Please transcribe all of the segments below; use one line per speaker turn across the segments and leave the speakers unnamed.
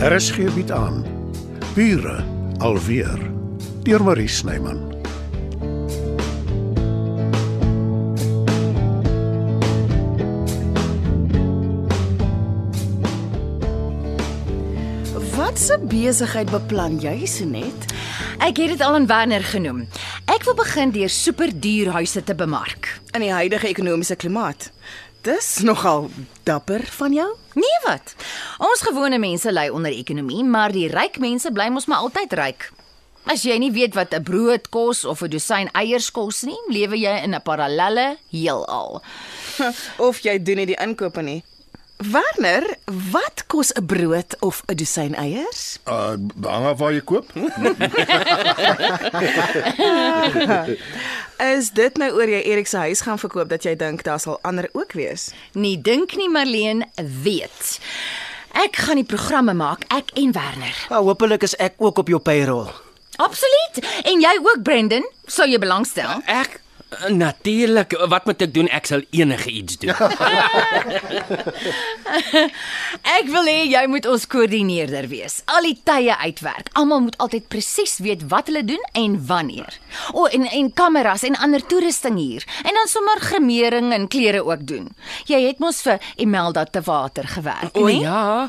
RSG Er bied aan. Bure alweer deur Marie Snyman.
Watse besigheid beplan jy, Senet?
Ek het dit al aan Werner genoem. Ek wil begin deur superduurhuise te bemark.
In die huidige ekonomiese klimaat. Dis nogal dapper van jou.
Nee wat? Ons gewone mense ly onder ekonomie, maar die ryk mense bly mos maar altyd ryk. As jy nie weet wat 'n brood kos of 'n dosyn eiers kos nie, lewe jy in 'n parallelle heelal.
Of jy doen nie die inkope nie. Werner, wat kos 'n brood of 'n dosyn eiers?
Uh hang af waar jy koop.
Is dit nou oor jy Erik se huis gaan verkoop dat jy dink daar sal ander ook wees?
Nie dink nie, Marleen weet. Ek gaan die programme maak, ek en Werner.
Ah, hopelik is ek ook op jou payroll.
Absoluut. En jy ook, Brendan, sou jy belangstel.
Ek natuurlik, wat moet ek doen? Ek sal enige iets doen.
Ek wil hê jy moet ons koördineerder wees. Al die tye uitwerk. Almal moet altyd presies weet wat hulle doen en wanneer. O, en en kameras en ander toerusting hier. En dan sommer grimering en klere ook doen. Jy het mos vir Imelda te water gewerk, nee?
O
né?
ja,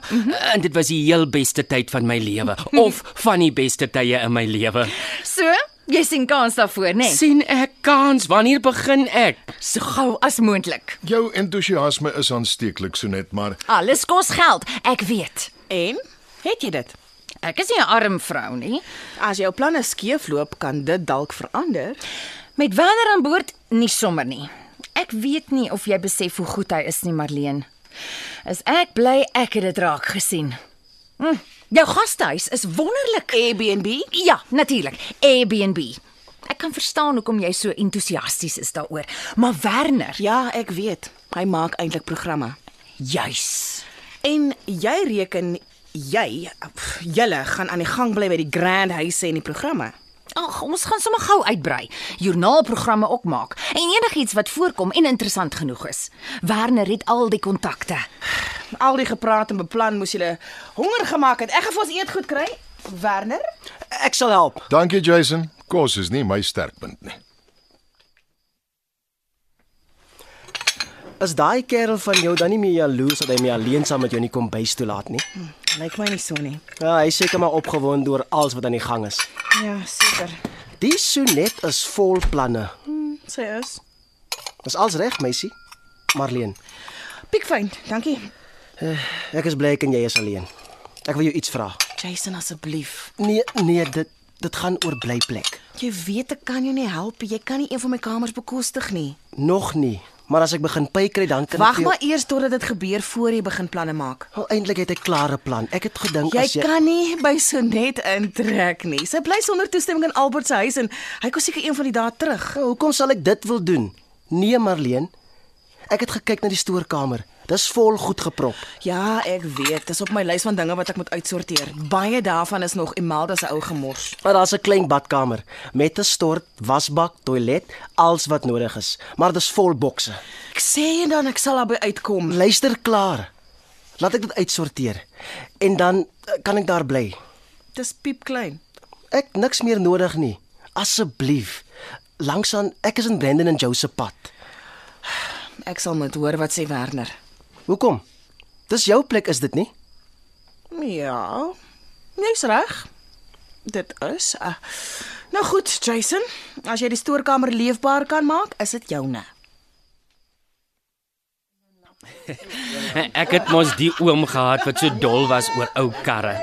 en dit was die heel beste tyd van my lewe of van die beste tye in my lewe.
So, jy sien kans daarvoor, nee? né?
sien ek kans wanneer begin ek?
So gou as moontlik.
Jou entoesiasme is aansteeklik so net, maar
Alles kos geld, ek weet.
En het jy dit?
Ek is nie 'n arm vrou nie.
As jou planne skeefloop, kan dit dalk verander.
Met Werner aan boord nie sommer nie. Ek weet nie of jy besef hoe goed hy is nie, Marleen. Is ek bly ek het dit raak gesien. Hm, jou gastehuis is wonderlik.
Airbnb?
Ja, natuurlik. Airbnb. Ek kan verstaan hoekom jy so entoesiasties is daaroor, maar Werner,
Ja, ek weet. Hy maak eintlik programme.
juis.
En jy reken jy pff, julle gaan aan die gang bly by die grand huise en die programme.
Ag, ons gaan sommer gou uitbrei. Joernaalprogramme ook maak en enigiets wat voorkom en interessant genoeg is. Werner het al die kontakte.
Al die gepraat en beplan moes julle honger gemaak het. Ek gaan vir ons eet goed kry. Werner?
Ek sal help.
dankie Jason. Kos is nie my sterkpunt nie.
Is daai kerel van jou dan nie meer jaloers dat hy my alleen saam met jou in die kombuis toelaat nie?
Lyk my nie so nie.
Ja, hy is seker maar opgewonde oor alles wat aan die gang is.
Ja, seker.
Die sonet is vol planne.
Sy is.
Dis als reg, meisie. Marleen,
Piekfyn, dankie.
ek is bly ek en jy is alleen. Ek wil jou iets vra.
Jason asseblief.
Nee, nee, dit dit gaan oor blyplek.
Jy weet ek kan jou nie help. Jy kan nie een van my kamers bekostig nie.
Nog nie, maar as ek begin pay kry dan kan
Wag
ek
maar eers totdat dit gebeur voor jy begin planne maak.
Oh, eintlik het ek 'n klare plan. Ek het gedink
Jy
as jy
kan nie by Sonet intrek nie. Sy bly sonder toestemming in Albert se huis en hy kom seker een van die dae terug.
Ja, Hoekom sal ek dit wil doen? Nee, Marleen. Ek het gekyk na die stoorkamer. Dis vol goed geprop.
Ja, ek weet, dis op my lys van dinge wat ek moet uitsorteer. Baie daarvan is nog Imelda se ou gemors.
Maar daar's 'n klein badkamer met 'n stort, wasbak, toilet, alles wat nodig is. Maar dis vol bokse.
Ek sê en dan ek sal daarby uitkom.
Luister klaar. Laat ek dit uitsorteer en dan eh, kan ek daar bly.
Dis piep klein.
Ek niks meer nodig nie. Asseblief. Langsaan, ek is in Brendan en Joe se pad.
Ek sal moet hoor wat sê Werner.
Hoekom? Dis jou plek is dit nie?
Ja. Jy's reg. Dit is. Uh, nou goed, Jason, as jy die stoorkamer leefbaar kan maak, is dit joune.
Ek het mos die oom gehad wat so dol was oor ou karre.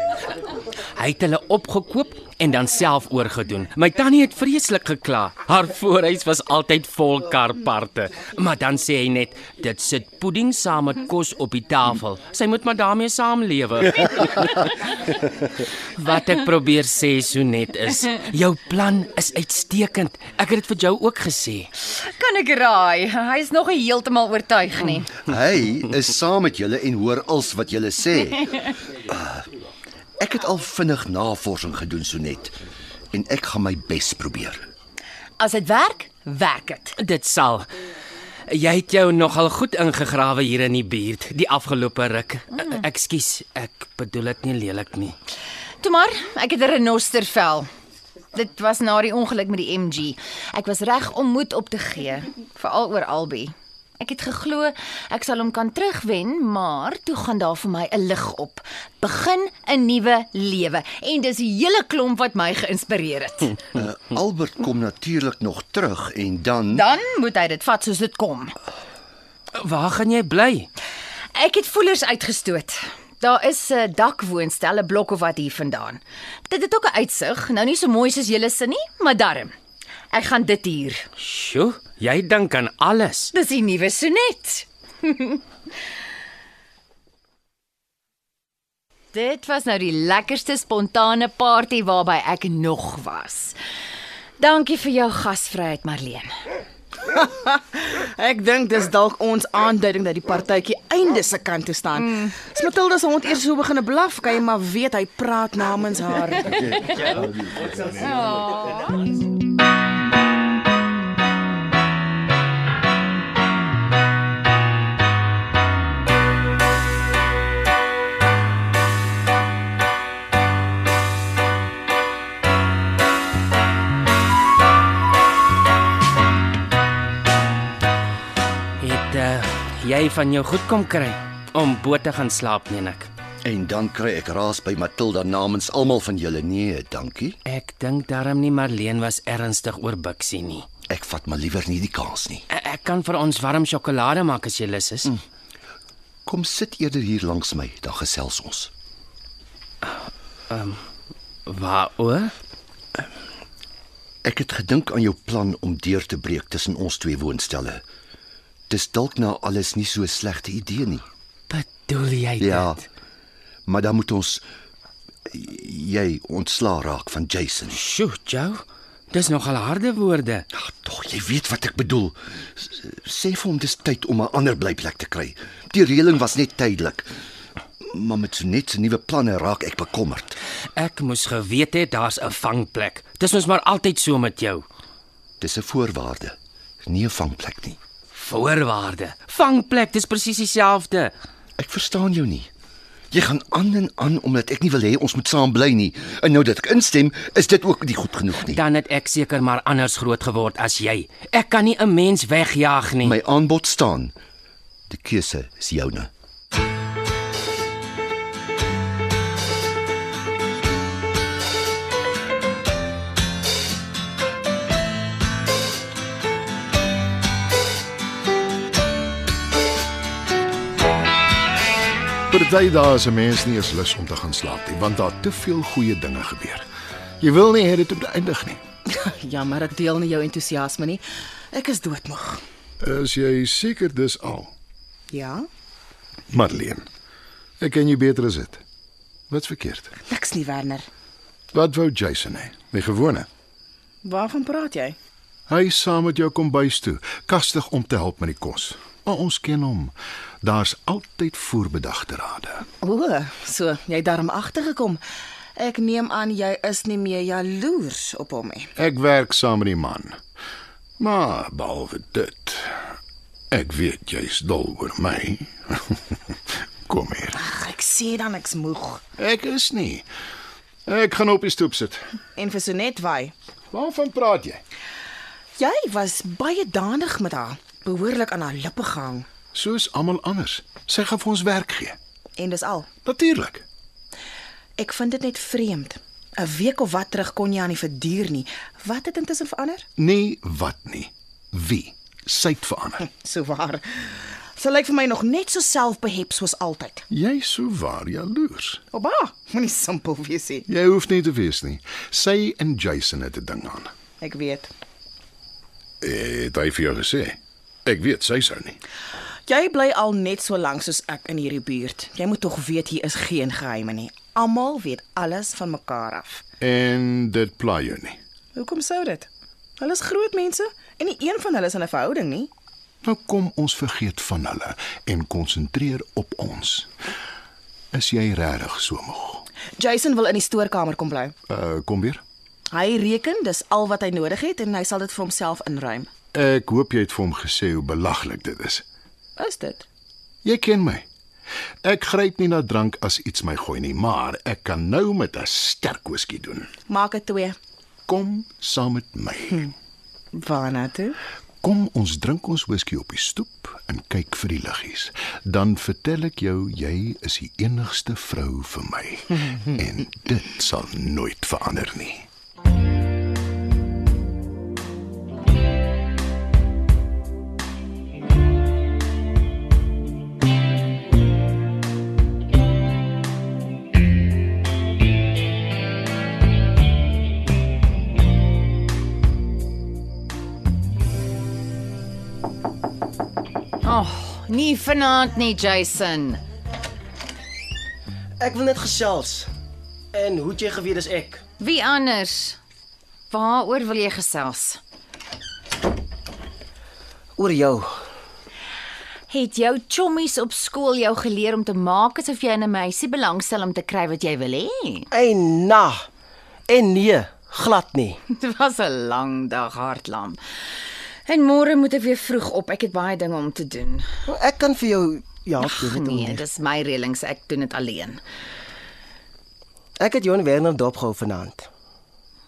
Hy het hulle opgekoop en dan self oorgedoen. My tannie het vreeslik gekla. Haar voorhuis was altyd vol karparte. Maar dan sê hy net, dit sit pudding saam met kos op die tafel. Sy moet maar daarmee saamlewe. Wat ek probeer sê so net is, jou plan is uitstekend. Ek het dit vir jou ook gesê.
Kan ek raai? Hy is nog nie heeltemal oortuig nie.
Hy is saam met julle en hoor als wat julle sê. Ah, Ek het al vinnig navorsing gedoen Sonet en ek gaan my bes probeer.
As dit werk, werk dit.
Dit sal. Jy het jou nogal goed ingegrawe hier in die buurt die afgelope ruk. Mm. Ekskuus, ek bedoel dit nie lelik nie.
Toe maar, ek het 'n renostervel. Dit was na die ongeluk met die MG. Ek was reg om moed op te gee, veral oor Albi. Ek het geglo ek sal hom kan terugwen, maar toe gaan daar vir my 'n lig op. Begin 'n nuwe lewe en dis 'n hele klomp wat my geïnspireer het.
Uh, Albert kom natuurlik nog terug en dan
Dan moet hy dit vat soos dit kom.
Waar gaan jy bly?
Ek het voelers uitgestoot. Daar is 'n dakwoonstel, 'n blok of wat hier vandaan. Dit het ook 'n uitsig, nou nie so mooi soos julle sin nie, maar darm. Ek gaan dit huur.
Sjoe, jy dink aan alles.
Dis die nuwe sonet. dit was nou die lekkerste spontane party waarby ek nog was. Dankie vir jou gasvryheid, Marlene.
Ek dink dis dalk ons aanduiding dat die partytjie einde se kant toe staan. Mm. As Matilda se hond eers so begine blaf, kan jy maar weet hy praat namens haar.
Het uh, jy van jou goed kom kry om bo te gaan slaap, meen ek.
en dan kry ek raas by Matilda namens almal van julle. Nee, dankie.
Ek dink darm nie Marleen was ernstig oor Bixie nie. E,
Ek vat maar liewer nie die kans nie.
Ek, ek kan vir ons warm sjokolade maak as jy lus is. Mm.
Kom sit eerder hier langs my, dan gesels ons.
Waaroor?
Ek het gedink aan jou plan om deur te breek tussen ons twee woonstelle. Dis dalk nou alles nie so 'n slegte idee nie.
Bedoel jy dit?
Ja. Maar dan moet ons jy ontslaa raak van Jason.
Sjoe, Joe. Dis nogal harde woorde.
Ag tog, jy weet wat ek bedoel. S- Sê vir hom dis tyd om 'n ander blyplek te kry. Die reëling was net tydelik. Maar met so net se nuwe planne raak ek bekommerd.
Ek moes geweet het daar's 'n vangplek. Dis ons maar altyd so met jou.
Dis 'n voorwaarde, nie 'n vangplek nie.
Voorwaarde. Vangplek, dis presies dieselfde.
Ek verstaan jou nie. Jy gaan aan en aan omdat ek nie wil hê ons moet saam bly nie. En nou dat ek instem, is dit ook nie goed genoeg nie.
Dan het ek seker maar anders groot geword as jy. Ek kan nie 'n mens wegjaag nie.
My aanbod staan. Die keuse is joune.
Party dae is 'n mens nie eens lus om te gaan slaap nie, want daar te veel goeie dinge gebeur. Jy wil nie hê dit moet eindig nie.
Jammer, ek deel nie jou entoesiasme nie. Ek is doodmoeg.
Is jy seker dis al?
Ja,
Marleen. Ek ken jou beter as dit. Wat's verkeerd?
niks nie Werner.
Wat wou Jason hê? Die gewone.
Waarvan praat jy?
Hy saam met jou kom bys toe, kastig om te help met die kos. Maar ons ken hom. Daar's altyd voorbedagte rade.
O, so jy het daarom agtergekom. Ek neem aan jy is nie meer jaloers op hom nie.
Ek werk saam met die man. Maar behalwe dit, ek weet jy's dol oor my. Kom hier.
Ag, ek sê dan ek's moeg.
Ek is nie. Ek gaan op die stoep sit.
En vir Sonet waai.
Waarvan praat jy?
Jy was baie danig met haar, behoorlik aan haar lippe gehang
Soos almal anders. Sy gaan vir ons werk gee.
en dis al.
Natuurlik.
Ek vind dit net vreemd. 'n Week of wat terug kon jy aan nie verduur nie. Wat het intussen verander?
Nee, wat nie. Wie? Sy't verander.
So waar. Sy lyk vir my nog net so selfbehep soos altyd.
Jy sou waar jaloers.
Oba, moenie simpel wees nie.
Jy hoef nie te wees nie. Sy en Jason het 'n ding aan.
Ek weet.
Het hy vir jou gesê? Ek weet sy sou nie.
Jy bly al net so lank soos ek in hierdie buurt. Jy moet tog weet hier is geen geheime nie. Almal weet alles van mekaar af.
En dit pla jou nie.
Hoekom sou dit? Hulle is groot mense en nie een van hulle is in 'n verhouding nie.
Nou kom ons vergeet van hulle en konsentreer op ons. Is jy regtig so moeg?
Jason wil in die stoorkamer kom bly.
Uh kom weer.
Hy reken dis al wat hy nodig het en hy sal dit vir homself inruim.
Ek hoop jy het vir hom gesê hoe belaglik dit is.
Is dit?
Jy ken my. Ek gryp nie na drank as iets my gooi nie, maar ek kan nou met 'n sterk whisky doen.
Maak dit twee.
Kom saam met my.
Waarna toe?
Kom ons drink ons whisky op die stoep en kyk vir die liggies. Dan vertel ek jou jy is die enigste vrou vir my en dit sal nooit verander nie.
Oh, nie vanaand nie, Jason.
Ek wil net gesels. En hoe het jy geweet dis ek?
Wie anders? Waaroor wil jy gesels?
Oor jou.
Het jou chommies op skool jou geleer om te maak asof jy in 'n meisie belangstel om te kry wat jy wil hê?
En na. En nee, glad nie.
Dit was 'n lang dag, hartlam. En môre moet ek weer vroeg op. Ek het baie dinge om te doen.
Nou, Ek kan vir jou ja,
Ag
jy weet hoe
nee,
nie.
dis my reëlings. Ek doen dit alleen.
Ek het Johan Werner dopgehou vanaand.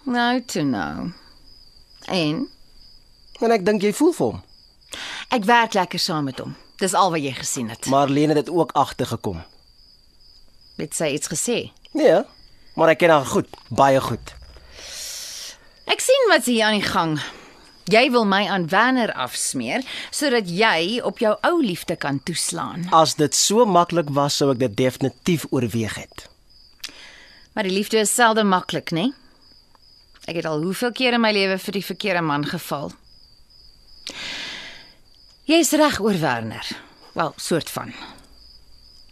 Nou toe nou. En
En ek dink jy voel vir hom.
ek werk lekker saam met hom. Dis al wat jy gesien het.
Marlene het dit ook agtergekom.
Het sy iets gesê?
Nee, maar ek ken haar goed, baie goed.
Ek sien wat hier aan die gang. Jy wil my aan Werner afsmeer sodat jy op jou ou liefde kan toeslaan.
As dit so maklik was, sou ek dit definitief oorweeg het.
Maar die liefde is selde maklik, né? Ek het al hoeveel keer in my lewe vir die verkeerde man geval. Jy's reg oor Werner. Wel, soort van.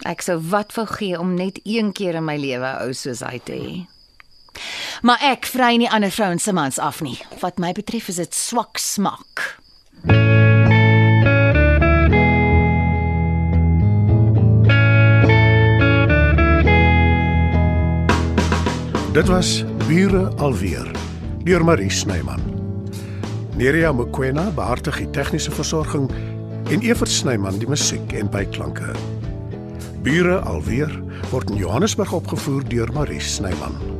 Ek sou wat wou gee om net een keer in my lewe 'n ou soos hy te hê. Maar ek vry nie ander vrouens se mans af nie. Wat my betref is dit swak smaak.
Dit was Bure alweer deur Marie Snyman. Neriya Mkwena behartig die tegniese versorging en Evert Snyman die musiek en byklanke. Bure alweer word in Johannesburg opgevoer deur Marie Snyman.